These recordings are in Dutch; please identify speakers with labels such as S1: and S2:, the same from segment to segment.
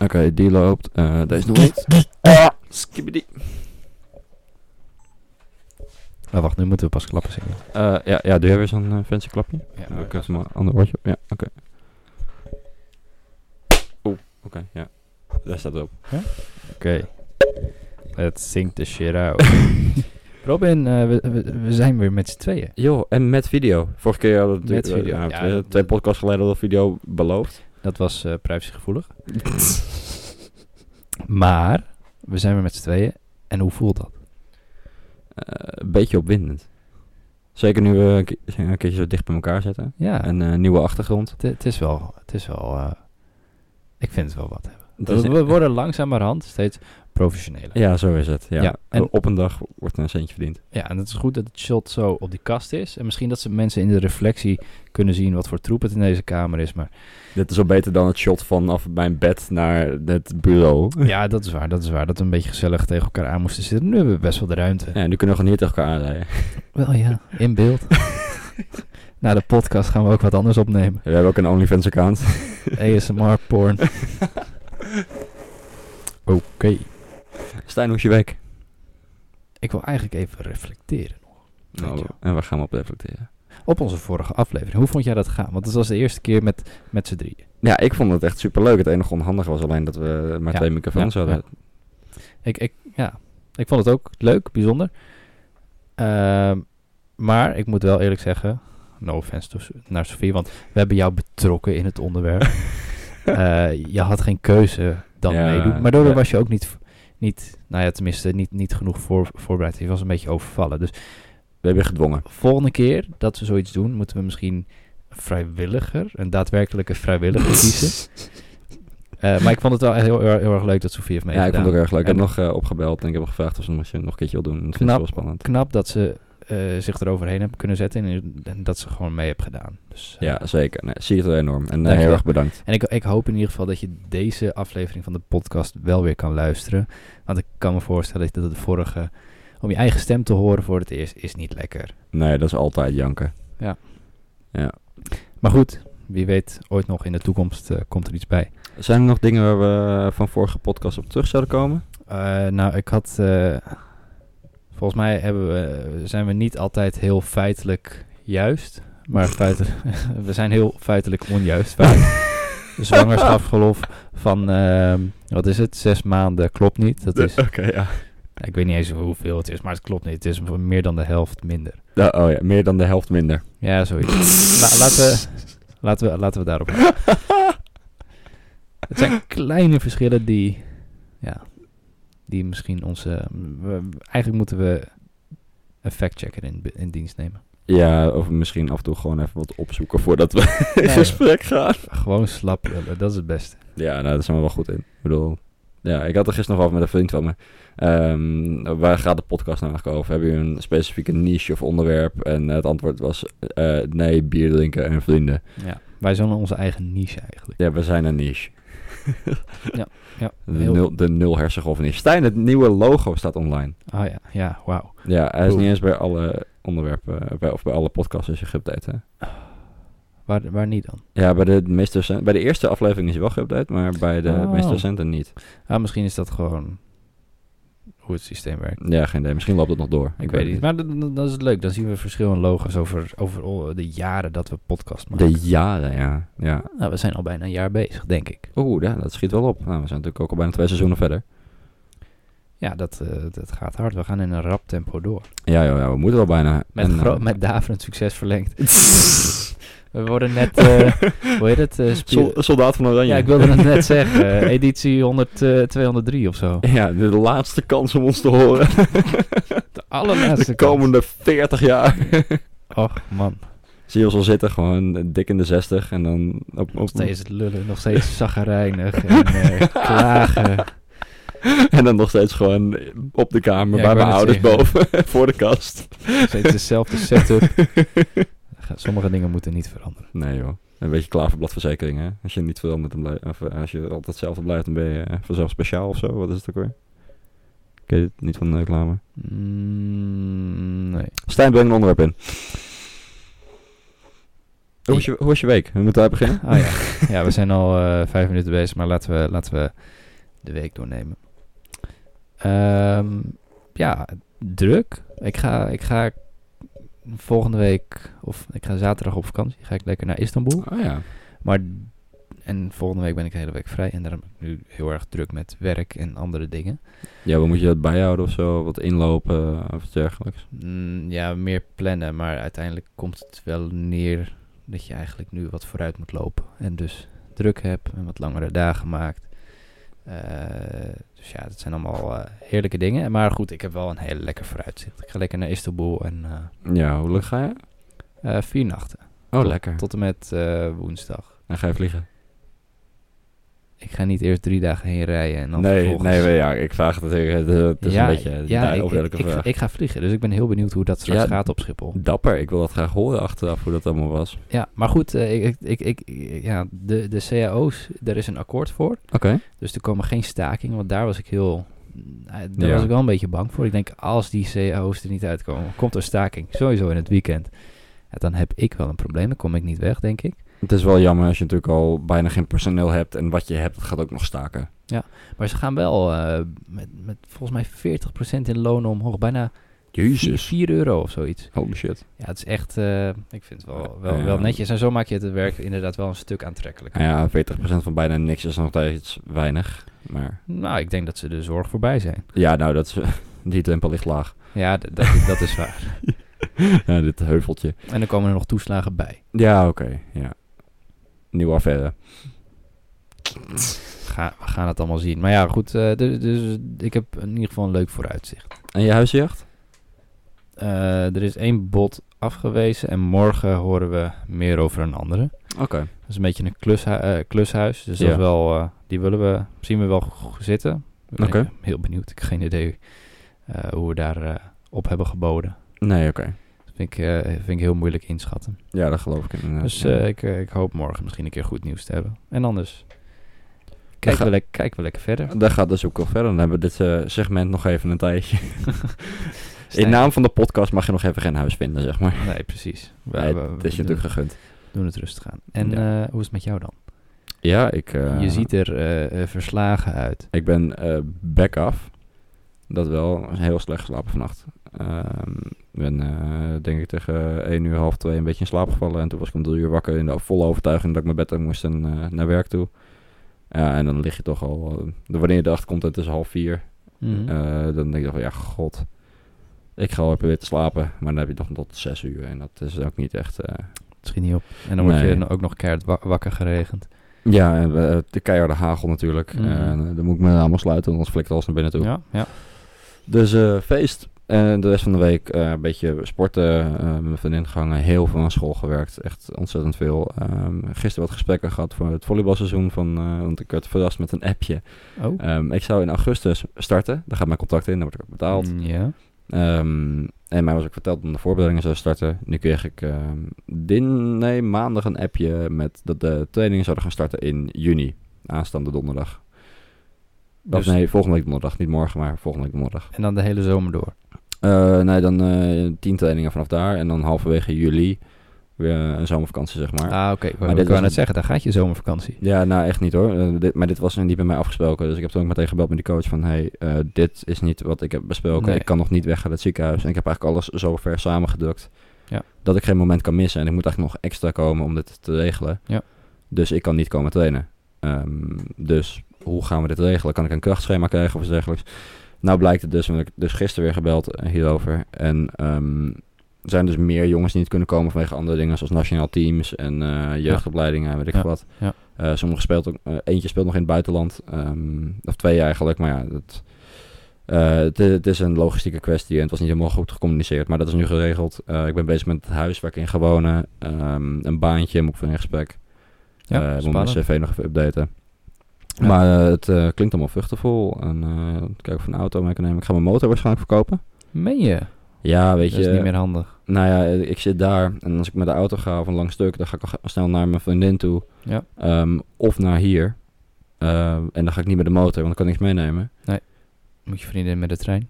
S1: Oké, die loopt. Eh deze nog niet. Skibbidi.
S2: Ah, wacht, nu moeten we pas klappen zingen.
S1: Eh, ja, ja, doe jij weer zo'n eh, fancy klapje?
S2: Ja,
S1: Ja, ik heb een ander woordje op. Ja, oké. Oeh, oké, ja. Daar staat het op.
S2: Oké. Let's sing the shit out. Robin, eh, we, we, we zijn weer met z'n tweeën.
S1: Joh, en met video. Vorige keer hadden we
S2: Met
S1: natuurlijk-
S2: video,
S1: eh,
S2: ja,
S1: twee,
S2: dat-
S1: twee podcasts geleden hadden we video beloofd.
S2: Dat was eh privacygevoelig. Maar we zijn weer met z'n tweeën. En hoe voelt dat?
S1: Eh, een beetje opwindend. Zeker nu we een ke- een keertje zo dicht bij elkaar zitten.
S2: Ja,
S1: Een eh, nieuwe achtergrond.
S2: het- het is wel... Het is wel eh, ik vind het wel wat. hebben.
S1: Dat
S2: we,
S1: is-
S2: we worden langzamerhand steeds professioneler.
S1: Ja, zo is het. Ja.
S2: Ja, en-
S1: Op een dag wordt een centje verdiend.
S2: Ja, en het is goed dat het shot zo op die kast is. En misschien dat ze mensen in de reflectie kunnen zien wat voor troep het in deze kamer is. Maar
S1: Dit is al beter dan het shot vanaf mijn bed naar het bureau.
S2: ja, dat is waar, dat is waar. Dat we een beetje gezellig tegen elkaar aan moesten zitten. Nu hebben we best wel de ruimte.
S1: Ja, nu kunnen we gewoon hier tegen elkaar aanrijden.
S2: Wel ja, in beeld. Na de podcast gaan we ook wat anders opnemen.
S1: We hebben ook een OnlyFans account.
S2: ASMR porn. Oké.
S1: Stijn, hoe is je week?
S2: Ik wil eigenlijk even reflecteren nog. Dank je.
S1: en waar gaan we op reflecteren?
S2: Op onze vorige aflevering. Hoe vond jij dat gaan? Want het was de eerste keer met, met z'n drieën.
S1: Ja, ik vond het echt superleuk. Het enige onhandige was alleen dat we maar
S2: Ja,
S1: twee microfoons
S2: ja,
S1: hadden.
S2: Ik, ik, ja, ik vond het ook leuk, bijzonder. Ehm, maar ik moet wel eerlijk zeggen, no offense to, naar Sofie, want we hebben jou betrokken in het onderwerp. Eh, je had geen keuze dan
S1: Ja,
S2: meedoen. Maar daardoor
S1: ja.
S2: was je ook niet, niet, nou ja, tenminste niet, niet genoeg voor, voorbereid. Je was een beetje overvallen. Dus
S1: We hebben je gedwongen.
S2: volgende keer dat we zoiets doen, moeten we misschien een vrijwilliger, een daadwerkelijke vrijwilliger kiezen. Eh, maar ik vond het wel heel, heel, heel erg leuk dat Sofie heeft
S1: Ja, ik
S2: meegedaan.
S1: vond het ook erg leuk. Ik heb
S2: En-
S1: nog eh, opgebeld en ik heb gevraagd of ze nog nog een keertje wil doen. Dat vind ik
S2: Knap.
S1: wel spannend.
S2: knap dat ze eh, zich eroverheen hebben kunnen zetten en, en dat ze gewoon mee hebben gedaan. Dus, eh,
S1: Ja, zeker. Nee, zie je het enorm. En eh,
S2: Dank je.
S1: heel erg bedankt.
S2: En ik, ik hoop in ieder geval dat je deze aflevering van de podcast wel weer kan luisteren. Want ik kan me voorstellen dat de vorige, om je eigen stem te horen voor het eerst, is niet lekker.
S1: Nee, dat is altijd janken.
S2: Maar goed, wie weet ooit nog in de toekomst eh, komt er iets bij.
S1: Zijn er nog dingen waar we van vorige podcast op terug zouden komen?
S2: Eh, nou, ik had. eh, volgens mij hebben we, zijn we niet altijd heel feitelijk juist. Maar feitelijk, we zijn heel feitelijk onjuist. vaak. Dus Zwangerschapsverlof van, ehm, wat is het, zes maanden klopt niet. Dat is,
S1: Oké, ja.
S2: ik weet niet eens hoeveel het is, maar het klopt niet. Het is meer dan de helft minder.
S1: oh ja, meer dan de helft minder.
S2: Ja, zoiets. La- laten, we, laten, we, laten we daarop houden. Het zijn kleine verschillen die, ja, die misschien onze... we- eigenlijk moeten we een factchecker in, in dienst nemen.
S1: Ja, of misschien af en toe gewoon even wat opzoeken voordat we in
S2: Nee.
S1: gesprek gaan.
S2: Gewoon slap lullen, dat is het beste.
S1: Ja, nou, daar zijn we wel goed in. Ik bedoel, ja, ik had er gisteren nog over met een vriend van me. Ehm, waar gaat de podcast nou eigenlijk over? Hebben jullie een specifieke niche of onderwerp? En het antwoord was eh, nee, bier drinken en vrienden.
S2: Ja. Wij zijn onze eigen niche eigenlijk.
S1: Ja, we zijn een niche.
S2: Ja,
S1: De
S2: heel-
S1: nul, de nul hersengolf niche. Stijn, het nieuwe logo staat online.
S2: Oh ja, ja, wauw.
S1: Ja, hij is
S2: Cool.
S1: niet eens bij alle onderwerpen, eh, bij, of bij alle podcasts is hij geüpdate, hè?
S2: Waar, waar niet dan?
S1: Ja, bij de, meest recent, bij de eerste aflevering is hij wel geüpdate, maar bij de
S2: Oh.
S1: meest recente niet.
S2: Ah, misschien is dat gewoon hoe het systeem werkt.
S1: Ja, geen idee. Misschien loopt het nog door.
S2: Ik weet niet. Maar dat, dat- dat is leuk. Dan zien we verschillende logo's over, over al de jaren dat we podcast maken.
S1: De jaren, ja. ja.
S2: Nou, we zijn al bijna een jaar bezig, denk ik.
S1: Oeh, ja, dat schiet wel op. Nou, we zijn natuurlijk ook al bijna twee seizoenen verder.
S2: Ja, dat, eh, dat gaat hard. We gaan in een rap tempo door.
S1: Ja, joh, ja we moeten wel bijna.
S2: Met,
S1: En,
S2: gro-
S1: eh,
S2: met daverend succes verlengd. we worden net, eh hoe heet het? eh, spier-
S1: Sol- Soldaat van Oranje.
S2: ja, ik wilde het net zeggen. eh, editie 100, eh, 203 of zo.
S1: Ja, de laatste kans om ons te horen.
S2: De allerlaatste
S1: De komende 40 jaar.
S2: kans. Och man,
S1: Zie je ons al zitten, gewoon eh, dik in de 60. En dan op,
S2: nog
S1: op,
S2: steeds het lullen, nog steeds zaggerijnig en eh, klagen.
S1: en dan nog steeds gewoon op de kamer
S2: Ja,
S1: bij
S2: ik
S1: mijn
S2: wou
S1: ouders
S2: net
S1: boven. voor de kast.
S2: Nog steeds dezelfde setup. Ga- Sommige dingen moeten niet veranderen.
S1: Nee joh. Een beetje klaverbladverzekering hè. Als je niet verandert, dan blijf, of eh, als je altijd hetzelfde blijft, dan ben je eh, vanzelf speciaal of zo. Wat is het ook weer? Ik weet het niet van de reclame.
S2: Mm, nee.
S1: Stijn, breng een onderwerp in. Hoe was je, hoe was je week? We moeten daar beginnen.
S2: Oh ja. ja, we zijn al eh, vijf minuten bezig, maar laten we, laten we de week doornemen. Ehm, ja, druk. Ik ga, ik ga volgende week, of ik ga zaterdag op vakantie, ga ik lekker naar Istanbul.
S1: Oh ja.
S2: Maar, en volgende week ben ik de hele week vrij en daarom ben ik nu heel erg druk met werk en andere dingen.
S1: Ja, wat moet je dat bijhouden of zo? Wat inlopen eh, of iets dergelijks?
S2: Mm, ja, meer plannen, maar uiteindelijk komt het wel neer dat je eigenlijk nu wat vooruit moet lopen. En dus druk hebt en wat langere dagen maakt. Eh, dus ja, dat zijn allemaal eh, heerlijke dingen. Maar goed, ik heb wel een hele lekker vooruitzicht. Ik ga lekker naar Istanbul en eh,
S1: Ja, hoe lang ga je?
S2: eh, vier nachten.
S1: Oh, lekker.
S2: Tot en met eh, woensdag.
S1: En ga je vliegen?
S2: Ik ga niet eerst drie dagen heen rijden en dan
S1: Nee,
S2: vervolgens...
S1: nee, we- ja, ik vraag het natuurlijk. eh, Het is
S2: Ja,
S1: een beetje een
S2: ja, ik, ik,
S1: duidelijke
S2: ik,
S1: vraag.
S2: ik ga vliegen, dus ik ben heel benieuwd hoe dat straks
S1: Ja.
S2: gaat op Schiphol.
S1: Dapper, ik wil dat graag horen achteraf hoe dat allemaal was.
S2: Ja, maar goed, eh, ik, ik, ik, ik- ja, de, de cao's, daar is een akkoord voor.
S1: Oké.
S2: Dus er komen geen stakingen, want daar was ik heel... eh, Daar
S1: Ja.
S2: was ik wel een beetje bang voor. Ik denk, als die cao's er niet uitkomen, komt er staking. Sowieso in het weekend. Ja, dan heb ik wel een probleem, dan kom ik niet weg, denk ik.
S1: Het is wel jammer als je natuurlijk al bijna geen personeel hebt en wat je hebt, dat gaat ook nog staken.
S2: Maar ze gaan wel eh, met, met volgens mij 40% in lonen omhoog. Bijna 4,
S1: Jezus.
S2: 4 euro of zoiets.
S1: Holy shit.
S2: Ja, het is echt... eh, ik vind het wel, wel,
S1: Ja.
S2: wel netjes. En zo maak je het werk inderdaad wel een stuk aantrekkelijker.
S1: Nou ja, 40% van bijna niks is nog steeds weinig. Maar
S2: Nou, ik denk dat ze de zorg voorbij zijn.
S1: ja, nou, dat is, die drempel ligt laag.
S2: Ja, d- dat, dat is waar.
S1: Ja, dit heuveltje.
S2: En dan komen er nog toeslagen bij.
S1: Ja, oké. ja. Nieuwe affaire.
S2: Ga, we gaan het allemaal zien. Maar ja, goed. eh, dus, dus ik heb in ieder geval een leuk vooruitzicht.
S1: En je huisjacht?
S2: Eh, er is één bod afgewezen en morgen horen we meer over een andere.
S1: Oké.
S2: Dat is een beetje een klushu- eh, klushuis. Dus dat
S1: Ja.
S2: is wel, eh, die willen we, zien we wel g- zitten. Ik ben
S1: Oké.
S2: heel benieuwd. Ik heb geen idee eh, hoe we daar eh, op hebben geboden.
S1: Nee, oké.
S2: Dat vind ik, eh, vind ik heel moeilijk inschatten.
S1: Ja, dat geloof ik inderdaad.
S2: Dus
S1: Ja.
S2: eh, ik, eh, ik hoop morgen misschien een keer goed nieuws te hebben. En anders kijken
S1: ga-
S2: we, lekker- kijken we lekker verder.
S1: Daar gaat dus ook wel verder. Dan hebben we dit eh, segment nog even een tijdje.
S2: Stijn.
S1: In naam van de podcast mag je nog even geen huis vinden, zeg maar.
S2: Nee, precies. We,
S1: Nee,
S2: we- we
S1: het is je
S2: doen,
S1: natuurlijk gegund.
S2: doen het rustig aan. En
S1: Ja.
S2: eh, hoe is het met jou dan?
S1: Ja, ik, eh,
S2: je ziet er eh, eh, verslagen uit.
S1: ik ben eh back af. Dat wel. Heel slecht geslapen vannacht. Ehm, Ik ben eh, denk ik tegen 1 uur, half 2 een beetje in slaap gevallen. En toen was ik om 3 uur wakker in de volle overtuiging dat ik mijn bed uit moest en eh, naar werk toe. Ja, en dan lig je toch al... eh, wanneer je erachter komt, het is half 4.
S2: Mhm.
S1: Eh, dan denk ik van ja, god. Ik ga wel even weer te slapen. Maar dan heb je toch tot zes uur. En dat is ook niet echt. eh,
S2: Misschien niet op. En dan word je
S1: nee.
S2: dan ook nog keihard wa- wakker geregend.
S1: Ja, en, eh, de keiharde hagel natuurlijk.
S2: Mhm.
S1: En, eh, dan moet ik me allemaal sluiten, anders flikt alles naar binnen toe.
S2: Ja, ja.
S1: Dus eh, feest. En de rest van de week eh, een beetje sporten. eh met mijn vriendin gehangen. Heel veel aan school gewerkt. Echt ontzettend veel. Ehm, gisteren wat gesprekken gehad voor het volleybalseizoen. Van, eh, want ik werd verrast met een appje.
S2: Oh.
S1: Ehm, ik zou in augustus starten. Daar gaat mijn contract in. Dan word ik ook betaald.
S2: Mm, Ja.
S1: Ehm, en mij was ook verteld om de voorbereidingen zou starten. Nu kreeg ik ehm, din, nee, maandag een appje met dat de trainingen zouden gaan starten in juni. Aanstaande donderdag.
S2: Dus-
S1: Of nee, volgende week donderdag. Niet morgen, maar volgende week donderdag.
S2: En dan de hele zomer door.
S1: Eh, nee, dan eh tien trainingen vanaf daar. En dan halverwege juli weer een zomervakantie, zeg maar.
S2: Ah, oké.
S1: Maar
S2: Maar
S1: dit
S2: ik wou
S1: was
S2: net
S1: een-
S2: zeggen, daar gaat je zomervakantie.
S1: Ja, nou echt niet hoor. Eh, dit, maar dit was niet bij mij afgesproken. Dus ik heb toen ook meteen gebeld met die coach van... hey, eh, dit is niet wat ik heb besproken.
S2: Nee.
S1: Ik kan nog niet weg uit het ziekenhuis. En ik heb eigenlijk alles zo ver samengedrukt...
S2: Ja.
S1: dat ik geen moment kan missen. En ik moet eigenlijk nog extra komen om dit te regelen.
S2: Ja.
S1: Dus ik kan niet komen trainen. Ehm, dus hoe gaan we dit regelen? Kan ik een krachtschema krijgen of iets dergelijks? Nou blijkt het dus, want ik heb dus gisteren weer gebeld eh, hierover. En ehm, er zijn dus meer jongens die niet kunnen komen vanwege andere dingen... zoals nationaal teams en eh jeugdopleidingen en weet ik
S2: Ja.
S1: veel wat.
S2: Ja.
S1: Eh, sommige speelt ook, eh, eentje speelt nog in het buitenland, ehm, of twee eigenlijk, maar ja, dat, eh, het, i- het is een logistieke kwestie en het was niet helemaal goed gecommuniceerd, maar dat is nu geregeld. Eh, ik ben bezig met het huis waar ik in ga wonen, ehm, een baantje moet ik voor in gesprek, Eh,
S2: Ja,
S1: ik moet mijn
S2: spannend.
S1: cv nog even updaten.
S2: Ja.
S1: Maar eh, het eh, klinkt allemaal vruchtenvol en eh kijk of ik een auto mee kan nemen. Ik ga mijn motor waarschijnlijk verkopen. Dus
S2: Meen je?
S1: Ja, weet
S2: Dat
S1: je.
S2: is niet meer handig.
S1: Nou ja, ik zit daar en als ik met de auto ga of een lang stuk, dan ga ik al ge- snel naar mijn vriendin toe.
S2: Ja.
S1: Ehm, of naar hier. Ehm, en dan ga ik niet met de motor, want dan kan ik niks meenemen.
S2: Moet je vrienden met de trein?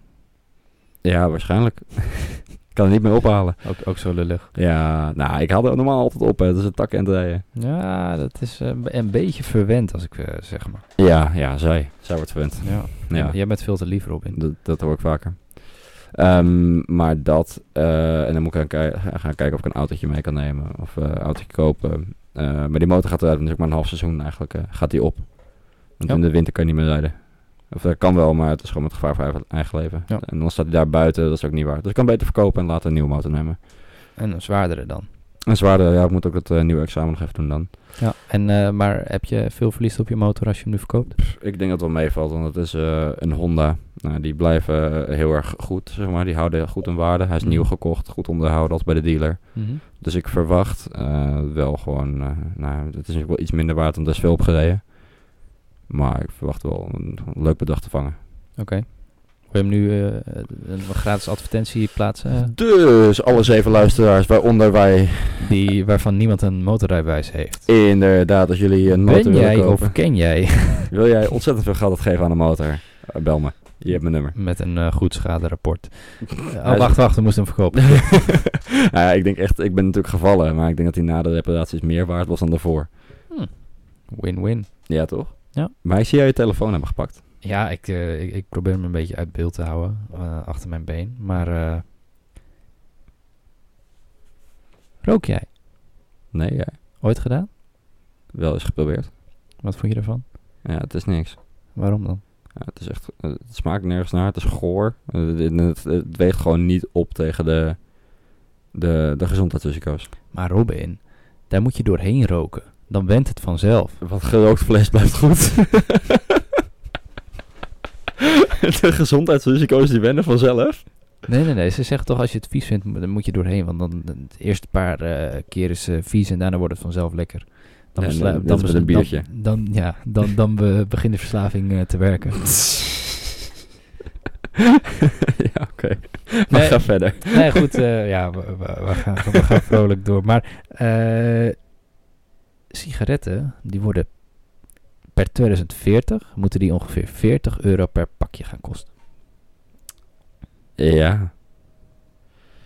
S1: Ja, waarschijnlijk. kan het niet meer ophalen.
S2: Ook, ook zo lullig.
S1: Ja, nou, ik haal het normaal altijd op. Hè. Het is een tak en rijden.
S2: Ja, dat is eh, een beetje verwend als ik eh, zeg maar.
S1: Ja, ja, zij. Zij wordt verwend.
S2: Ja.
S1: Ja.
S2: Jij bent veel te lief, Robin.
S1: Dat, dat hoor ik vaker. Ehm, maar dat, eh, en dan moet ik gaan, kei- gaan kijken of ik een autootje mee kan nemen of eh, een autootje kopen. Eh, maar die motor gaat eruit natuurlijk maar een half seizoen eigenlijk, eh, gaat die op. Want
S2: Ja.
S1: in de winter kan je niet meer rijden. Of dat kan wel, maar het is gewoon met gevaar voor eigen- eigen leven.
S2: Ja.
S1: En dan staat hij daar buiten, dat is ook niet waar. Dus ik kan beter verkopen en later een nieuwe motor nemen.
S2: En een zwaardere dan.
S1: En zwaarder, ja, ik moet ook dat eh, nieuwe examen nog even doen dan.
S2: Ja. En, eh, maar heb je veel verlies op je motor als je hem nu verkoopt?
S1: Ik denk dat het wel meevalt, want het is eh, een Honda. Nou, die blijven eh, heel erg goed, zeg maar. Die houden goed hun waarde. Hij is
S2: Mhm.
S1: nieuw gekocht, goed onderhouden, als bij de dealer. Dus ik verwacht eh, wel gewoon... eh, nou, het is natuurlijk wel iets minder waard, want er is veel op gereden. Maar ik verwacht wel een leuk bedrag te vangen.
S2: Oké. Wil je hem nu eh, een gratis advertentie plaatsen? eh,
S1: Dus, alle zeven luisteraars, waaronder wij...
S2: die, waarvan niemand een motorrijbewijs heeft.
S1: Inderdaad, als jullie een motor
S2: Ben
S1: willen
S2: jij
S1: kopen...
S2: of ken jij
S1: Wil jij ontzettend veel geld uitgeven aan een motor? Eh, bel me. Je hebt mijn nummer.
S2: met een eh, goed schaderapport? Eh,
S1: Hij
S2: oh,
S1: is-
S2: wacht, wacht, we moesten hem verkopen.
S1: Nou ja, ik denk echt, ik ben natuurlijk gevallen, maar ik denk dat die na de reparaties meer waard was dan daarvoor.
S2: Win-win.
S1: Ja, toch?
S2: Ja.
S1: Maar ik zie jou je telefoon hebben gepakt.
S2: Ja, ik, eh, ik, ik probeer hem een beetje uit beeld te houden, eh, achter mijn been. Maar eh, rook jij?
S1: Nee, ja.
S2: Ooit gedaan?
S1: Wel eens geprobeerd.
S2: Wat vond je ervan?
S1: Ja, het is niks.
S2: Waarom dan?
S1: Ja, het is echt, eh, het smaakt nergens naar, het is goor. Eh, Het, het- het weegt gewoon niet op tegen de, de, de gezondheidsrisico's.
S2: Maar Robin, daar moet je doorheen roken. Dan went het vanzelf.
S1: Wat gerookt vlees blijft goed. de gezondheidsrisico's die wennen vanzelf.
S2: Nee, nee, nee. Ze zeggen toch als je het vies vindt, mo- dan moet je doorheen. Want dan dan- het eerste paar eh, keer is eh, vies en daarna wordt het vanzelf lekker. Dan
S1: Ja,
S2: besla-
S1: net- net
S2: dan
S1: als met
S2: besla-
S1: een biertje.
S2: Dan, dan- ja, dan, dan be- begint de verslaving eh, te werken.
S1: ja, oké. Maar
S2: Nee.
S1: ga verder.
S2: nee, goed. eh, ja, we, we- we gaan, we gaan vrolijk door. Maar eh, sigaretten, die worden per 2040, moeten die ongeveer 40 euro per pakje gaan kosten.
S1: Ja.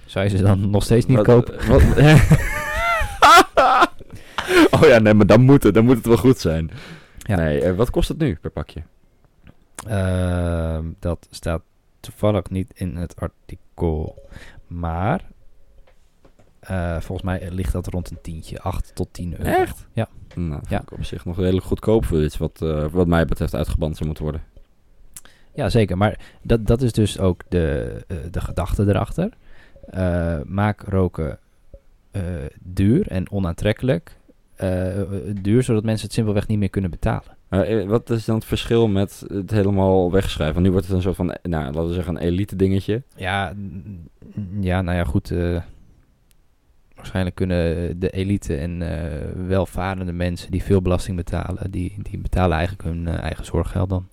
S2: Zou je ze dan nog steeds niet
S1: Wat- eh,
S2: kopen?
S1: wat- oh ja, nee, maar dan moet het, dan moet het wel goed zijn.
S2: Ja.
S1: Nee, eh, wat kost het nu per pakje?
S2: Ehm, dat staat toevallig niet in het artikel. Maar eh, volgens mij ligt dat rond een tientje. 8 tot 10 euro.
S1: Echt?
S2: Ja.
S1: Nou, dat
S2: Ja.
S1: vind ik op zich nog redelijk goedkoop voor iets wat, eh, wat mij betreft uitgeband zou moeten worden.
S2: Ja, zeker. Maar dat, dat is dus ook de, eh, de gedachte erachter. Eh, maak roken eh, duur en onaantrekkelijk. Eh, eh, duur, zodat mensen het simpelweg niet meer kunnen betalen.
S1: Eh, eh, wat is dan het verschil met het helemaal wegschrijven? Want nu wordt het een soort van, eh, nou, laten we zeggen, een elite dingetje.
S2: Ja, n- n- ja nou ja, goed. eh, waarschijnlijk kunnen de elite en eh, welvarende mensen die veel belasting betalen, die, die betalen eigenlijk hun eh, eigen zorggeld dan.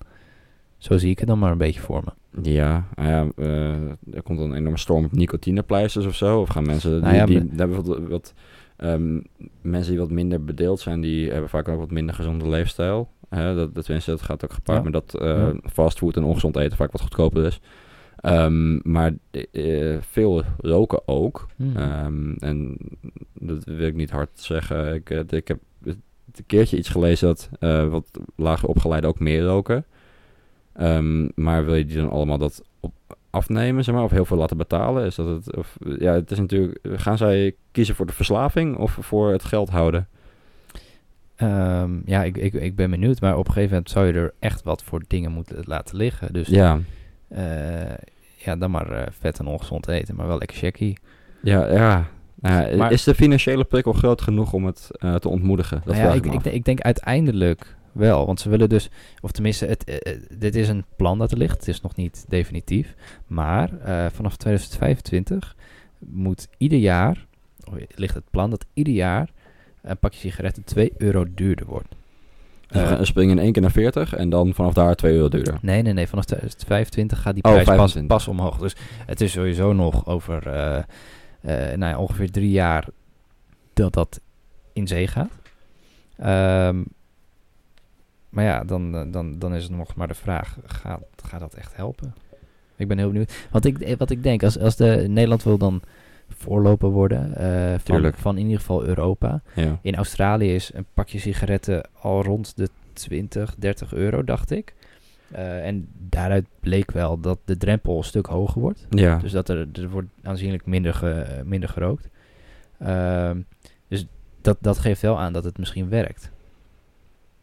S2: Zo zie ik het dan maar een beetje voor me.
S1: Ja, nou ja eh, er komt een enorme storm op nicotinepleisters of zo. Of gaan mensen die,
S2: Nou ja,
S1: die,
S2: maar-
S1: daar bijvoorbeeld wat, ehm, mensen die wat minder bedeeld zijn, die hebben vaak ook wat minder gezonde leefstijl. Hè, dat, dat, tenminste, dat gaat ook gepaard
S2: Ja.
S1: met dat eh,
S2: Ja.
S1: fastfood en ongezond eten vaak wat goedkoper is. Ehm, maar eh, veel roken ook.
S2: Hmm.
S1: Ehm, en dat wil ik niet hard zeggen. Ik, eh, ik heb een keertje iets gelezen dat eh, wat lager opgeleiden ook meer roken. Ehm, maar wil je die dan allemaal dat op afnemen, zeg maar, of heel veel laten betalen? Is dat het, of, ja, het is natuurlijk, gaan zij kiezen voor de verslaving of voor het geld houden?
S2: Ehm, ja, ik, ik, ik ben benieuwd, maar op een gegeven moment zou je er echt wat voor dingen moeten laten liggen. Dus ja,
S1: Ja,
S2: ja dan maar eh, vet en ongezond eten, maar wel lekker checkie.
S1: ja, ja. Nou ja,
S2: Maar-
S1: is de financiële prikkel groot genoeg om het eh, te ontmoedigen? Dat
S2: Nou ja,
S1: vraag ik,
S2: ik,
S1: me
S2: ik,
S1: af.
S2: denk- ik denk uiteindelijk wel, want ze willen dus, of tenminste, het, eh, eh, dit is een plan dat er ligt. Het is nog niet definitief, maar eh, vanaf 2025 moet ieder jaar, of ligt het plan dat ieder jaar een pakje sigaretten 2 euro duurder wordt. Eh,
S1: Dus we gaan springen in één keer naar 40 en dan vanaf daar 2 euro duurder.
S2: Nee, nee, nee. Vanaf 2025 gaat die
S1: Oh,
S2: prijs pas,
S1: 25.
S2: pas omhoog. Dus het is sowieso nog over eh, eh, nou ja, ongeveer drie jaar dat dat in zee gaat. Ehm, maar ja, dan, eh, dan, dan is het nog maar de vraag, gaat, gaat dat echt helpen? Ik ben heel benieuwd. Want ik, eh, wat ik denk, als, als de, Nederland wil dan voorloper worden eh, van,
S1: Tuurlijk.
S2: van in ieder geval Europa.
S1: Ja.
S2: In Australië is een pakje sigaretten al rond de 20, 30 euro, dacht ik. Eh, en daaruit bleek wel dat de drempel een stuk hoger wordt.
S1: Ja.
S2: Dus dat er, er wordt aanzienlijk minder, ge- minder gerookt. Ehm, dus dat, dat geeft wel aan dat het misschien werkt.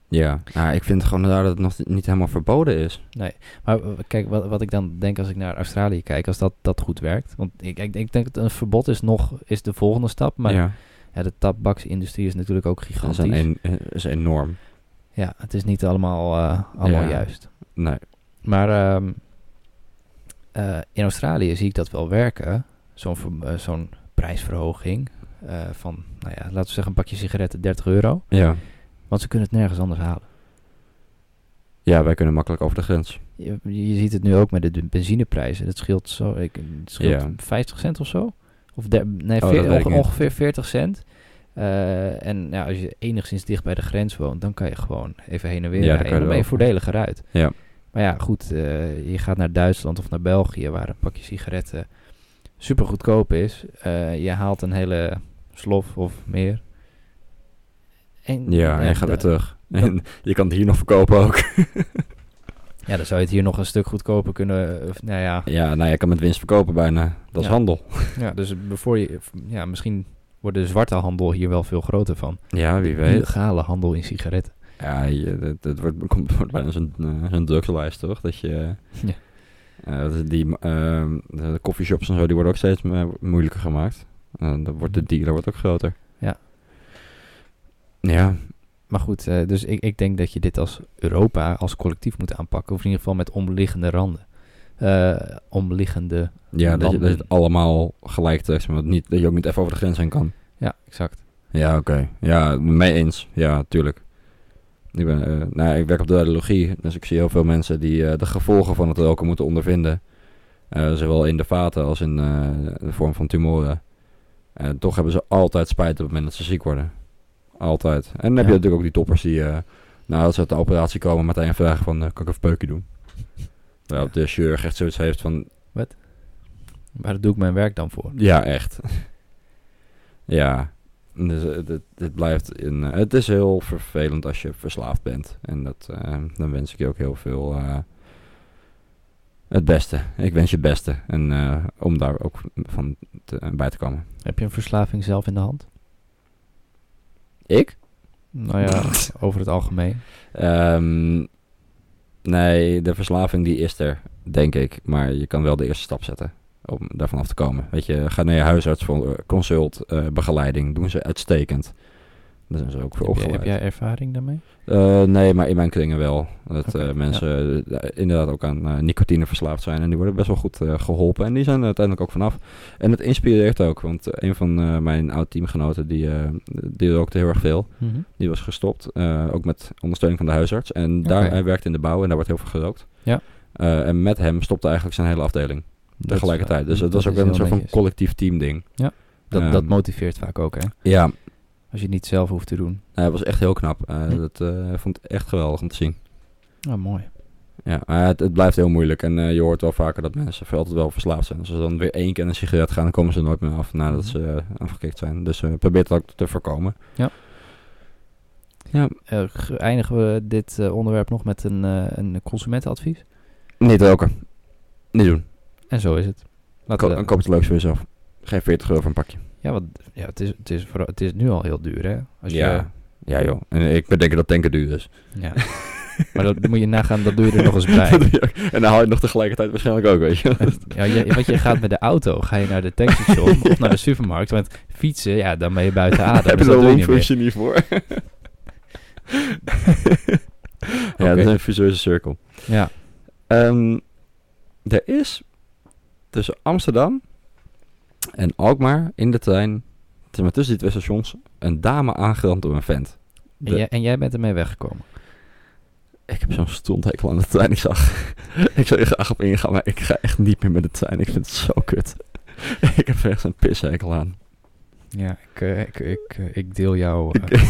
S1: ja. Nou, ik vind gewoon daar dat het nog niet helemaal verboden is.
S2: Maar eh, kijk, wat, wat ik dan denk als ik naar Australië kijk, als dat, dat goed werkt. Want ik, ik, ik denk dat een verbod is nog is de volgende stap. Maar ja.
S1: ja.
S2: de tabaksindustrie is natuurlijk ook
S1: Dat is,
S2: gigantisch.
S1: een en- eh, is enorm.
S2: Ja, het is niet allemaal, eh, allemaal
S1: Ja.
S2: juist.
S1: Nee.
S2: Maar ehm, eh, in Australië zie ik dat wel werken. Zo'n ver- eh, zo'n prijsverhoging eh, van, nou ja, laten we zeggen een pakje sigaretten 30 euro.
S1: Ja.
S2: Want ze kunnen het nergens anders halen.
S1: Ja, wij kunnen makkelijk over de grens.
S2: Je, je ziet het nu ook met de du- benzineprijzen. Dat scheelt zo, ik, het scheelt
S1: Ja.
S2: 50 cent of zo. Of der- nee,
S1: Oh,
S2: veer-
S1: dat weet ik
S2: onge-
S1: niet.
S2: ongeveer 40 cent. Eh, en ja, als je enigszins dicht bij de grens woont, dan kan je gewoon even heen en weer
S1: Ja, dan
S2: rijden.
S1: kan je
S2: Dan ben je
S1: wel.
S2: voordeliger uit.
S1: Ja.
S2: Maar ja, goed, eh, je gaat naar Duitsland of naar België, waar een pakje sigaretten super goedkoop is. Eh, je haalt een hele slof of meer. En,
S1: Ja, en je gaat
S2: da-
S1: weer terug. En je kan het hier nog verkopen ook.
S2: Ja, dan zou je het hier nog een stuk goedkoper kunnen. Of, nou ja,
S1: Ja, nou, je kan met winst verkopen bijna. Dat is
S2: Ja.
S1: handel.
S2: Ja, dus voor je, ja, misschien wordt de zwarte handel hier wel veel groter van.
S1: Ja, wie weet.
S2: Illegale handel in sigaretten.
S1: Ja, je, dat, dat wordt, komt, wordt bijna zo'n eh, zo'n drugslijst, toch? Dat je...
S2: Ja.
S1: eh, dat is die, ehm, de coffeeshops en zo, die worden ook steeds eh, moeilijker gemaakt. En dan wordt de dealer wordt ook groter.
S2: Ja.
S1: Ja,
S2: Maar goed, eh, dus ik, ik denk dat je dit als Europa, als collectief moet aanpakken. Of in ieder geval met omliggende randen. Eh, omliggende.
S1: ja dat, je, dat je
S2: Landen.
S1: het allemaal gelijk trekt. Maar dat niet, dat je ook niet even over de grens heen kan.
S2: Ja, exact.
S1: Ja, oké. Ja, mee eens. Ja, tuurlijk. Ik, ben, eh, nou, ja, ik werk op de radiologie, dus ik zie heel veel mensen die eh, de gevolgen van het roken moeten ondervinden. Eh, zowel in de vaten als in eh, de vorm van tumoren. En toch hebben ze altijd spijt op het moment dat ze ziek worden. Altijd. En dan heb
S2: Ja.
S1: je natuurlijk ook die toppers die, eh, nadat ze uit de operatie komen, meteen vragen van, eh, kan ik even een peukje doen? Terwijl de chirurg echt zoiets heeft van,
S2: Maar daar doe ik mijn werk dan voor.
S1: ja, echt. ja. Dus eh, dit, dit blijft in. eh, het is heel vervelend als je verslaafd bent. En dat, eh, dan wens ik je ook heel veel. eh, het beste. Ik wens je het beste. En eh, om daar ook van te- bij te komen.
S2: Heb je een verslaving zelf in de hand?
S1: Ik?
S2: Nou ja, over het algemeen.
S1: Ehm, nee, de verslaving die is er, denk ik. Maar je kan wel de eerste stap zetten om daarvan af te komen. Weet je, ga naar je huisarts voor eh, consult, eh, begeleiding. Doen ze uitstekend. Daar zijn ze ook voor
S2: Heb jij,
S1: opgeleid.
S2: heb jij ervaring daarmee?
S1: Eh, nee, maar in mijn kringen wel. Dat
S2: Oké,
S1: eh,
S2: ja.
S1: mensen eh, inderdaad ook aan eh, nicotine verslaafd zijn. En die worden best wel goed eh, geholpen. En die zijn er uiteindelijk ook vanaf. En het inspireert ook. Want eh, een van eh, mijn oud-teamgenoten, die, eh die rookte heel erg veel. Die was gestopt. eh, ook met ondersteuning van de huisarts. En daar,
S2: Oké.
S1: hij werkte in de bouw en daar wordt heel veel gerookt.
S2: Ja.
S1: Eh, en met hem stopte eigenlijk zijn hele afdeling.
S2: Dat is
S1: tegelijkertijd.
S2: wel-
S1: Dus het was
S2: dat
S1: ook
S2: is
S1: wel een
S2: heel
S1: soort van
S2: netjes.
S1: collectief teamding.
S2: Dat, dat
S1: Ehm,
S2: motiveert vaak ook, hè?
S1: Ja,
S2: Als je het niet zelf hoeft te doen.
S1: hij was echt heel knap. Eh,
S2: Hm.
S1: Dat eh, vond ik echt geweldig om te zien.
S2: Nou, mooi.
S1: Ja, maar het, het blijft heel moeilijk. En eh, je hoort wel vaker dat mensen voor altijd wel verslaafd zijn. Dus Als ze dan weer één keer een sigaret gaan, dan komen ze er nooit meer af
S2: Mhm.
S1: nadat ze eh, afgekikt zijn. Dus eh, probeer dat ook te voorkomen.
S2: Eh, ge- eindigen we dit eh, onderwerp nog met een, eh, een consumentenadvies?
S1: Niet roken. Niet doen.
S2: En zo is het.
S1: Ko
S2: Laten we
S1: dan koop het leuks voor jezelf. Geen 40 euro voor een pakje.
S2: ja, want ja, het, is, het, is vooral, het is nu al heel duur, hè? Als
S1: ja. ja, joh. En ik bedenk dat tanken duur is.
S2: Je, ja. maar dat moet je nagaan, dat doe je er nog eens bij.
S1: Dat doe je ook. en dan haal je het nog tegelijkertijd waarschijnlijk ook, weet je.
S2: Ja, je, want je gaat met de auto, ga je naar de tankstation of naar de supermarkt. Want fietsen, ja, dan ben je buiten adem.
S1: Daar heb
S2: dus
S1: je
S2: dat
S1: zo'n
S2: doe je niet meer.
S1: longfunctie niet voor. ja,
S2: Oké.
S1: dat is een visueuze cirkel.
S2: Ja,
S1: Ehm, er is tussen Amsterdam en Alkmaar in de trein, zeg maar tussen die twee stations, een dame aangerand door een vent. De-
S2: en, jij, en jij bent ermee weggekomen.
S1: Ik heb zo'n stondhekel aan de trein. Ik zag, ik zou er graag op ingaan, maar ik ga echt niet meer met de trein. Ik vind het zo kut. ik heb er echt een pishekel aan.
S2: Ja, ik, eh, ik, ik, eh, ik deel jouw, eh,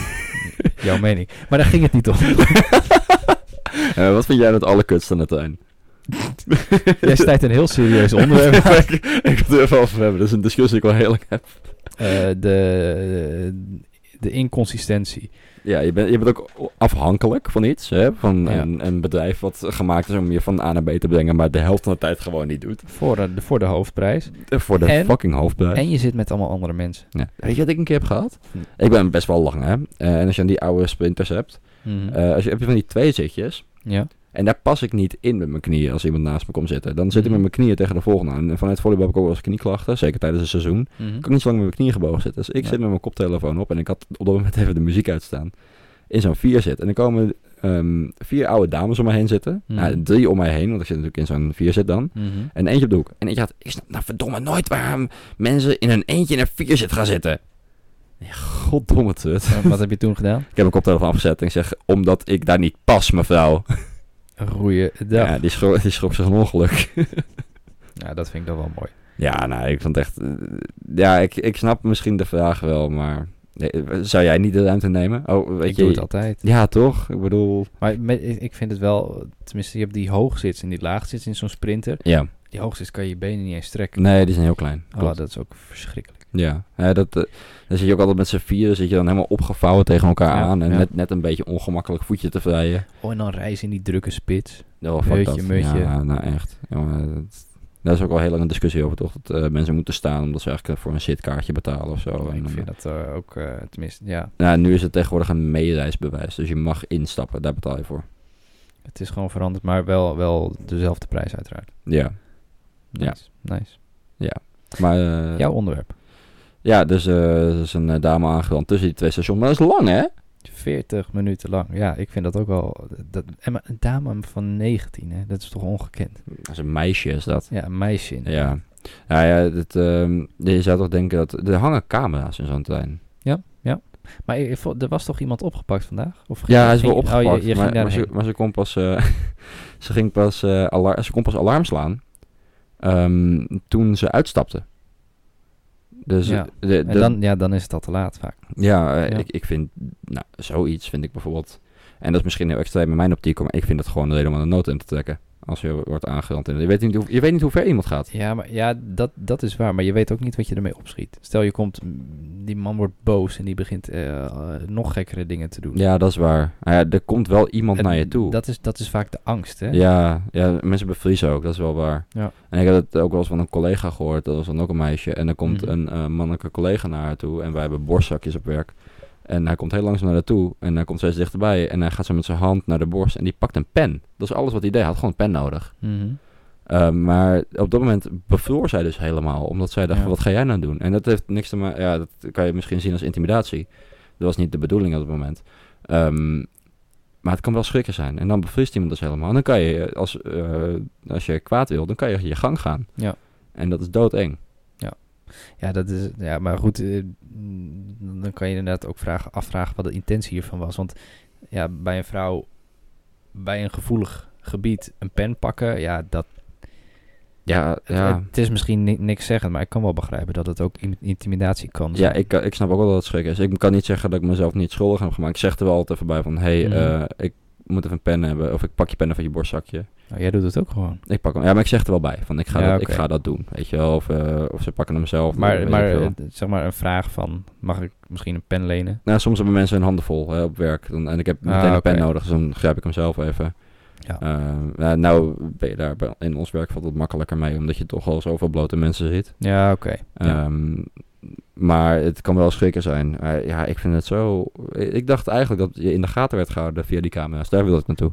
S2: jouw mening. Maar daar ging het niet om.
S1: Eh, wat vind jij het allerkutste aan de trein?
S2: niet. Jij snijdt een heel serieus onderwerp aan.
S1: ik, ik wil het er even over hebben. Dat is een discussie die ik wel heel lang heb.
S2: Eh, de, de, inconsistentie.
S1: Ja, je bent, je bent ook afhankelijk van iets. Hè? Van
S2: Ja.
S1: een, een bedrijf wat gemaakt is om je van A naar B te brengen, maar de helft van de tijd gewoon niet doet.
S2: Voor eh, de, voor de hoofdprijs.
S1: Voor de
S2: En-
S1: fucking hoofdprijs.
S2: En je zit met allemaal andere mensen.
S1: Ja. Weet je wat ik een keer heb gehad?
S2: Hm.
S1: Ik ben best wel lang, hè? Eh, en als je aan die oude sprinters hebt,
S2: Mhm.
S1: eh, als je, heb je van die twee zitjes.
S2: ja.
S1: En daar pas ik niet in met mijn knieën als iemand naast me komt zitten. Dan zit ik met mijn knieën tegen de volgende aan. En vanuit volleybal heb ik ook wel eens knieklachten, zeker tijdens het seizoen.
S2: Mhm.
S1: Ik kan niet zo lang met mijn knieën gebogen zitten. Dus ik
S2: Ja.
S1: zit met mijn koptelefoon op en ik had op dat moment even de muziek uitstaan. In zo'n vierzit. En er komen ehm, vier oude dames om mij heen zitten.
S2: Mhm.
S1: Nou, drie om mij heen, want ik zit natuurlijk in zo'n vierzit dan.
S2: Mhm.
S1: En eentje op de hoek. En eentje had, ik snap nou verdomme nooit waarom mensen in een eentje in een vierzit gaan zitten. Ja, goddomme tut.
S2: En Mhm. Wat heb je toen gedaan?
S1: Ik heb mijn koptelefoon afgezet en ik zeg, omdat ik daar niet pas, mevrouw.
S2: Roeien.
S1: Ja,
S2: Ja.
S1: die, schrok, die schrok zich een ongeluk.
S2: ja, dat vind ik dan wel mooi.
S1: Ja, nou, ik vond het echt... eh, Ja, ik, ik snap misschien de vraag wel, maar... nee, Zou jij niet de ruimte nemen? Oh, weet
S2: ik
S1: je...
S2: doe het altijd.
S1: Ja, toch? Ik bedoel...
S2: Maar me- ik ik vind het wel, tenminste, je hebt die hoogzits en die laagzits in zo'n sprinter.
S1: Ja.
S2: Die hoogzits kan je je benen niet eens trekken.
S1: Nee, die zijn heel klein.
S2: Oh,
S1: Klopt.
S2: dat is ook verschrikkelijk.
S1: Ja. ja dat, eh, dan zit je ook altijd met z'n vieren, zit je dan helemaal opgevouwen tegen elkaar
S2: Ja,
S1: aan. En
S2: ja.
S1: net, net een beetje ongemakkelijk voetje te vrijen.
S2: Oh, en dan reizen in die drukke spits.
S1: Oh, fuck
S2: Meutje,
S1: dat.
S2: meutje.
S1: Ja, nou echt. Jongen, dat, daar is ook al heel lang een discussie over, toch? Dat eh, mensen moeten staan omdat ze eigenlijk voor een zitkaartje betalen of zo. En,
S2: ik
S1: eh,
S2: vind dat eh, ook, eh, tenminste, ja.
S1: nou, nu is het tegenwoordig een meereisbewijs. Dus je mag instappen, daar betaal je voor.
S2: Het is gewoon veranderd, maar wel, wel dezelfde prijs uiteraard.
S1: Ja. Ja.
S2: Nice. Nice.
S1: Maar eh,
S2: Jouw onderwerp.
S1: ja, dus eh, er is een eh, dame aangerand tussen die twee stations. Maar dat is lang, hè?
S2: 40 minuten lang. Ja, ik vind dat ook wel... Dat, en maar een dame van 19, hè? dat is toch ongekend?
S1: Dat is een meisje, is dat.
S2: Ja, een meisje. in.
S1: Ja. Nou ja, dat, ehm, je zou toch denken dat... Er hangen camera's in zo'n trein.
S2: Maar je- je vo- er was toch iemand opgepakt vandaag? Of ging-
S1: Ja, hij is wel
S2: ging-
S1: opgepakt.
S2: Oh, je, je
S1: maar,
S2: ging
S1: maar, ze,
S2: daarheen.
S1: maar ze kon pas... eh, ze, ging pas eh, alar- ze kon pas alarm slaan. ehm, toen ze uitstapte. Dus
S2: Ja.
S1: de, de,
S2: En dan, ja, dan is het al te laat vaak.
S1: ja, eh,
S2: Ja.
S1: Ik, ik vind... Nou, zoiets vind ik bijvoorbeeld... En dat is misschien heel extreem in mijn optiek... maar ik vind dat gewoon een reden om aan de nood in te trekken. Als je wordt aangerand. En Je weet niet hoe, je weet niet hoe ver iemand gaat.
S2: Ja, maar ja, dat, dat is waar. Maar je weet ook niet wat je ermee opschiet. Stel je komt, mm, die man wordt boos en die begint eh, eh, nog gekkere dingen te doen.
S1: Ja, dat is waar. Nou ja, er komt wel iemand
S2: En
S1: naar je toe.
S2: Dat is, dat is vaak de angst, hè?
S1: Ja, ja, mensen bevriezen ook, dat is wel waar.
S2: Ja.
S1: En ik heb het ook wel eens van een collega gehoord, dat was dan ook een meisje. En dan komt
S2: Mhm.
S1: een eh, mannelijke collega naar haar toe en wij hebben borstzakjes op werk. En hij komt heel langzaam naar haar toe en hij komt steeds dichterbij. En hij gaat zo met zijn hand naar de borst en die pakt een pen. Dat is alles wat hij deed, hij had gewoon een pen nodig.
S2: Mhm.
S1: Eh, maar op dat moment bevroor zij dus helemaal, omdat zij dacht,
S2: Ja.
S1: wat ga jij nou doen? En dat heeft niks te maken, ja, dat kan je misschien zien als intimidatie. Dat was niet de bedoeling op het moment. Ehm, maar het kan wel schrikken zijn. En dan bevriest iemand dus helemaal. En dan kan je, eh, als, eh, als je kwaad wil, dan kan je je gang gaan.
S2: Ja.
S1: En dat is doodeng.
S2: Ja, dat is, ja, maar goed, eh, mm, dan kan je inderdaad ook vragen, afvragen wat de intentie hiervan was. Want ja, bij een vrouw, bij een gevoelig gebied, een pen pakken, ja, dat,
S1: Ja,
S2: het,
S1: ja.
S2: het is misschien ni- niks zeggen, maar ik kan wel begrijpen dat het ook im- intimidatie kan
S1: ja
S2: zijn.
S1: ik, eh, ik snap ook wel dat het schrik is. Ik kan niet zeggen dat ik mezelf niet schuldig heb gemaakt. Ik zeg er wel altijd even bij van, hey,
S2: Mhm.
S1: eh, ik moet even een pen hebben. Of ik pak je pen even uit je borstzakje.
S2: Nou, jij doet het ook gewoon.
S1: Ik pak hem. Ja, maar ik zeg er wel bij. Van ik ga,
S2: Ja,
S1: dat,
S2: oké.
S1: ik ga dat doen. Weet je wel. Of, eh, of ze pakken hem zelf. weet
S2: maar
S1: ik
S2: maar
S1: veel.
S2: eh, zeg maar een vraag van, mag ik misschien een pen lenen?
S1: nou, soms hebben mensen hun handen vol hè, op werk. Dan, en ik heb meteen
S2: Ah,
S1: een pen
S2: oké.
S1: nodig. Dus dan grijp ik hem zelf even.
S2: Ja.
S1: Ehm, nou, nou ben je daar bij- in ons werk valt het makkelijker mee. Omdat je toch al zoveel blote mensen ziet.
S2: Ja, oké. Ja.
S1: Ehm, maar het kan wel schrikken zijn. Eh, ja, ik vind het zo... Ik dacht eigenlijk dat je in de gaten werd gehouden via die camera's. Daar wil ik naartoe.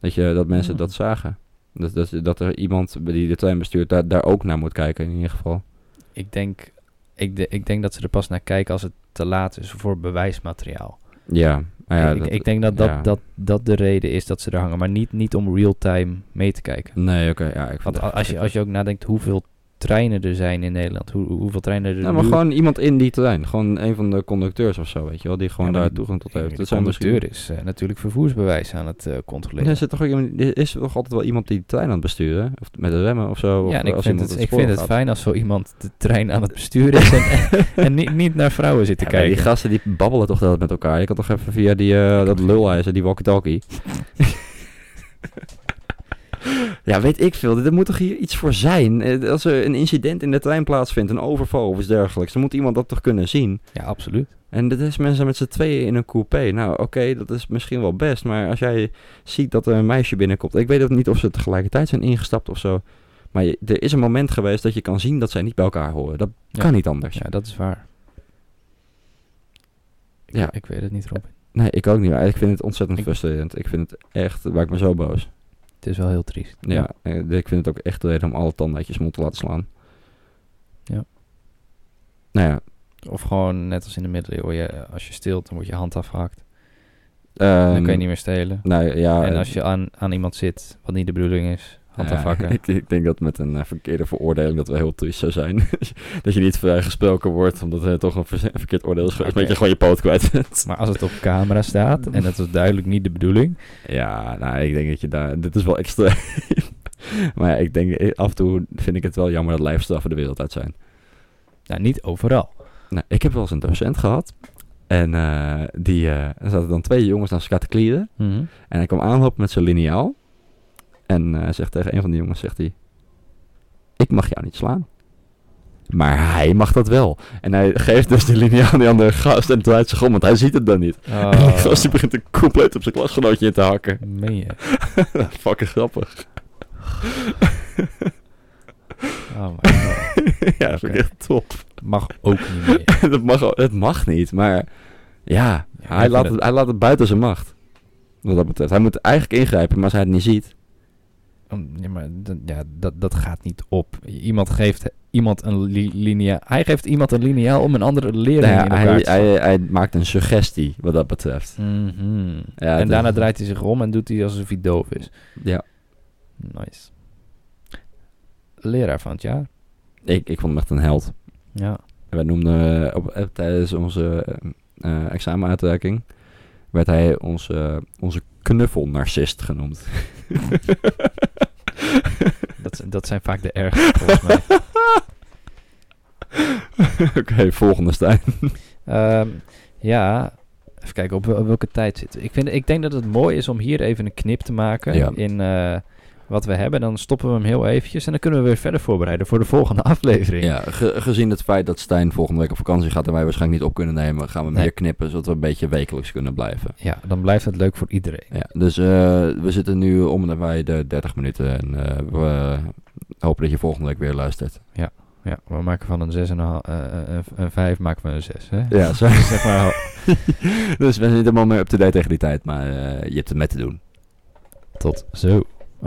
S1: Dat, je, dat mensen
S2: Hmm.
S1: dat zagen. Dat, dat, dat er iemand die de trein bestuurt daar, daar ook naar moet kijken in ieder geval.
S2: Ik, denk, ik, de- ik denk dat ze er pas naar kijken als het te laat is voor bewijsmateriaal.
S1: Ja, maar Nou ja,
S2: ik,
S1: dat-
S2: ik denk dat dat,
S1: ja.
S2: dat dat de reden is dat ze er hangen. Maar niet, niet om real-time mee te kijken.
S1: Nee, oké, ja, ik vind
S2: Want
S1: het
S2: a- als je, als je ook nadenkt hoeveel treinen er zijn in Nederland. Hoe, hoeveel treinen er
S1: Nou, maar
S2: nu-
S1: gewoon iemand in die trein. Gewoon een van de conducteurs of zo, weet je wel. Die gewoon
S2: Ja, maar
S1: daar
S2: die-
S1: toegang tot heeft.
S2: de
S1: zijn
S2: conducteur is eh, natuurlijk vervoersbewijs aan het eh,
S1: misschien-
S2: controleren.
S1: Er zit toch ook iemand- er is toch altijd wel iemand die de trein aan het besturen? Of met de remmen of zo? of
S2: ja, en ik
S1: als
S2: vind,
S1: iemand
S2: het,
S1: het
S2: ik
S1: spoor
S2: vind het
S1: gaat.
S2: fijn als zo iemand de trein aan het besturen is en, en niet, niet naar vrouwen zit te
S1: Ja, maar
S2: kijken.
S1: die gasten die babbelen toch altijd met elkaar. Je kan toch even via die, eh dat lulhuizen, die walkie-talkie. Ja, weet ik veel. Er moet toch hier iets voor zijn? Eh, Als er een incident in de trein plaatsvindt, een overval of iets dergelijks, dan moet iemand dat toch kunnen zien?
S2: Ja, absoluut.
S1: En dat is mensen met z'n tweeën in een coupé. Nou, oké, dat is misschien wel best, maar als jij ziet dat er een meisje binnenkomt, ik weet ook niet of ze tegelijkertijd zijn ingestapt of zo. Maar je- er is een moment geweest dat je kan zien dat zij niet bij elkaar horen. Dat
S2: Ja.
S1: kan niet anders.
S2: Ja, dat is waar. Ik,
S1: Ja.
S2: ik weet het niet, Robin.
S1: Nee, ik ook niet. Maar ik vind het ontzettend
S2: Ik-
S1: frustrerend. Ik vind het echt, het maakt me zo boos.
S2: Het is wel heel triest.
S1: Ja, eh, ik vind het ook echt de reden om alle tanden uit je mond te laten slaan.
S2: Ja.
S1: Nou ja.
S2: Of gewoon net als in de middeleeuwen, je, als je steelt, dan wordt je hand afgehakt. dan
S1: ehm,
S2: kan je niet meer stelen.
S1: Nou ja.
S2: en
S1: eh,
S2: als je aan, aan iemand zit, wat niet de bedoeling is, hand
S1: ja,
S2: afhakken.
S1: ik, ik denk dat met een eh, verkeerde veroordeling dat we heel triest zou zijn. dat je niet vrijgesproken wordt omdat er toch een verze- verkeerd oordeel is geweest.
S2: Oké.
S1: Dat je gewoon je poot kwijt bent.
S2: Maar als het op camera staat en het was duidelijk niet de bedoeling.
S1: Ja, nou, ik denk dat je daar... Dit is wel extra. maar ja, ik denk, eh, af en toe vind ik het wel jammer dat lijfstraffen de wereld uit zijn.
S2: Nou, niet overal.
S1: Nou, ik heb wel eens een docent gehad. En eh, die, eh, er zaten dan twee jongens naast elkaar te klieren. En hij kwam aanlopen met zijn liniaal. En eh, hij zegt tegen een van die jongens, zegt hij... Ik mag jou niet slaan. Maar hij mag dat wel. En hij geeft dus die liniaal aan die andere gast en draait zich om, want hij ziet het dan niet.
S2: Oh,
S1: En die gast die begint er compleet op zijn klasgenootje in te hakken.
S2: meen je?
S1: Fucking grappig.
S2: Oh my god.
S1: ja, dat vind ik echt top.
S2: Mag ook niet meer.
S1: dat, mag, al- dat mag niet, maar ja,
S2: Ja,
S1: hij,
S2: ik
S1: laat
S2: vind
S1: het, hij laat het buiten zijn macht. Wat dat betreft. Hij moet eigenlijk ingrijpen, maar als hij het niet ziet.
S2: Um, Ja, maar dat- ja, dat, dat gaat niet op. Iemand geeft iemand een li- lineaal. Hij geeft iemand een lineaal om een andere leraar
S1: Nou
S2: in
S1: ja,
S2: elkaar
S1: hij,
S2: te slaan.
S1: hij, hij maakt een suggestie, wat dat betreft.
S2: Mhm.
S1: Ja,
S2: en
S1: het
S2: daarna
S1: is-
S2: draait hij zich om en doet hij alsof hij doof is.
S1: Ja,
S2: Nice. Leraar van het jaar.
S1: ik, ik vond hem echt een held.
S2: Ja.
S1: We noemden eh, op, eh, tijdens onze eh, eh, examenuitreiking werd hij onze, eh, onze knuffelnarcist genoemd.
S2: Dat, zijn- dat zijn vaak de ergste volgens mij.
S1: Oké, volgende Stijn.
S2: Ehm, ja, even kijken op, wel- op welke tijd zitten. we? Ik, vind, ik denk dat het mooi is om hier even een knip te maken
S1: Ja.
S2: in eh, wat we hebben. Dan stoppen we hem heel eventjes en dan kunnen we weer verder voorbereiden voor de volgende aflevering.
S1: Ja, ge- gezien het feit dat Stijn volgende week op vakantie gaat en wij waarschijnlijk niet op kunnen nemen, gaan we
S2: Nee.
S1: meer knippen zodat we een beetje wekelijks kunnen blijven.
S2: Ja, dan blijft het leuk voor iedereen.
S1: Ja, dus eh, we zitten nu om en nabij de 30 minuten en eh, we hopen dat je volgende week weer luistert.
S2: Ja, we maken van een 6,5, eh, eh, een 5 maken we een 6. Hè?
S1: Ja, zo.
S2: Zeg maar,
S1: dus we zijn niet helemaal meer up-to-date tegen die tijd, maar eh, je hebt het met te doen.
S2: tot zo.